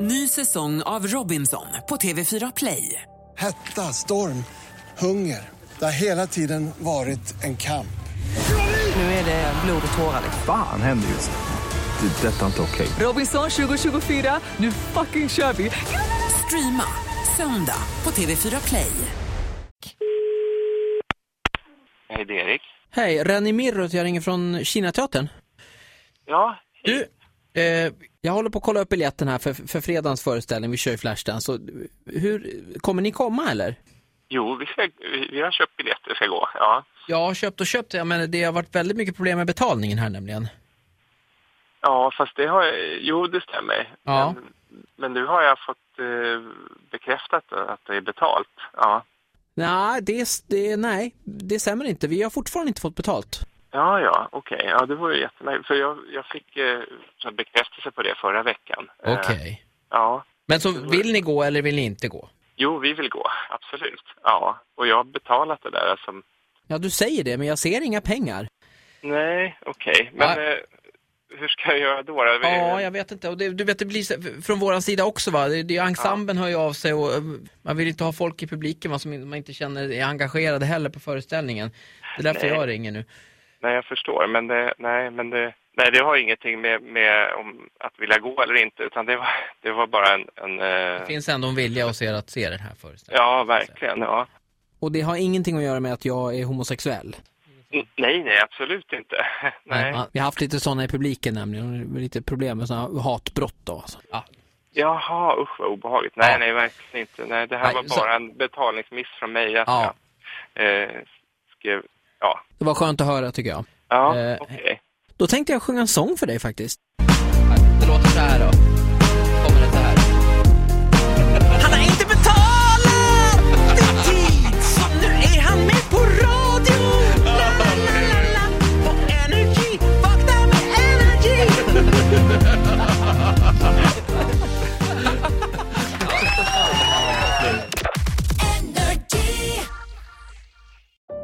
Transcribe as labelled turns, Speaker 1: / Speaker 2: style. Speaker 1: Ny säsong av Robinson på TV4 Play.
Speaker 2: Hetta, storm, hunger. Det har hela tiden varit en kamp.
Speaker 1: Nu är det blod och tårar.
Speaker 3: Fan händer just nu. Det. är Detta är inte okej.
Speaker 1: Robinson 2024, nu fucking kör vi! Streama söndag på TV4 Play.
Speaker 4: Hej, det är Erik.
Speaker 5: Hej, Renny Mirrot, jag ringer från Kinateatern.
Speaker 4: Ja,
Speaker 5: Du, eh, jag håller på att kolla upp biljetten här för, för fredagens föreställning, vi kör ju Flashdance. Så, hur, kommer ni komma eller?
Speaker 4: jo, vi, ska, vi, vi har köpt biljetter ska gå. Ja,
Speaker 5: Jag har köpt och köpt, jag menar, det har varit väldigt mycket problem med betalningen här nämligen.
Speaker 4: ja fast det har jag- Jo, det stämmer.
Speaker 5: Ja.
Speaker 4: Men, men nu har jag fått eh, bekräftat att det är betalt. Ja,
Speaker 5: Nej, det, s- det, nej, det stämmer inte. Vi har fortfarande inte fått betalt.
Speaker 4: ja, ja okej. Ja, det vore jättenöjd. För jag, jag fick eh, så här bekräftelse på det förra veckan. Eh, ja.
Speaker 5: Men så vill ni gå eller vill ni inte gå?
Speaker 4: Jo, vi vill gå. Absolut. Ja, och jag har betalat det där som...
Speaker 5: Ja, du säger det, men jag ser inga pengar.
Speaker 4: Nej, okej. Men
Speaker 5: Nej.
Speaker 4: eh, hur ska jag göra då? då?
Speaker 5: Ja, jag vet inte. Och det, du vet, det blir så- från vår sida också va. Det, det, ensemblen hör ju av sig och eh, man vill inte ha folk i publiken va, som in- man inte känner är engagerade heller på föreställningen. Det är därför
Speaker 4: Nej.
Speaker 5: jag ringer nu.
Speaker 4: Nej, jag förstår. Men det, nej, men det, nej, det har ingenting med, med om att vilja gå eller inte, utan det var, det var bara en... en eh,
Speaker 5: Det finns ändå en vilja hos er att se den här föreställningen.
Speaker 4: ja, verkligen. Ja.
Speaker 5: Och det har ingenting att göra med att jag är homosexuell.
Speaker 4: N- Nej, nej, absolut inte. nej.
Speaker 5: ja, Vi har haft lite sådana i publiken nämligen, och lite problem med sådana hatbrott då. Alltså. Ja.
Speaker 4: Jaha, usch vad obehagligt. Nej,
Speaker 5: Ja.
Speaker 4: nej, verkligen inte. Nej, det här
Speaker 5: Nej,
Speaker 4: var
Speaker 5: så-
Speaker 4: bara en betalningsmiss från mig att
Speaker 5: Ja.
Speaker 4: jag eh, skrev... Ja,
Speaker 5: Det var skönt att höra tycker jag.
Speaker 4: ja
Speaker 5: Eh,
Speaker 4: okej.
Speaker 5: Då tänkte jag sjunga en sång för dig faktiskt. Det låter så här då. Kommer det så här. Han har inte betalat i tid. Så nu är han med på radio. La, la, la, la, la. På Energy. Vakna med Energy.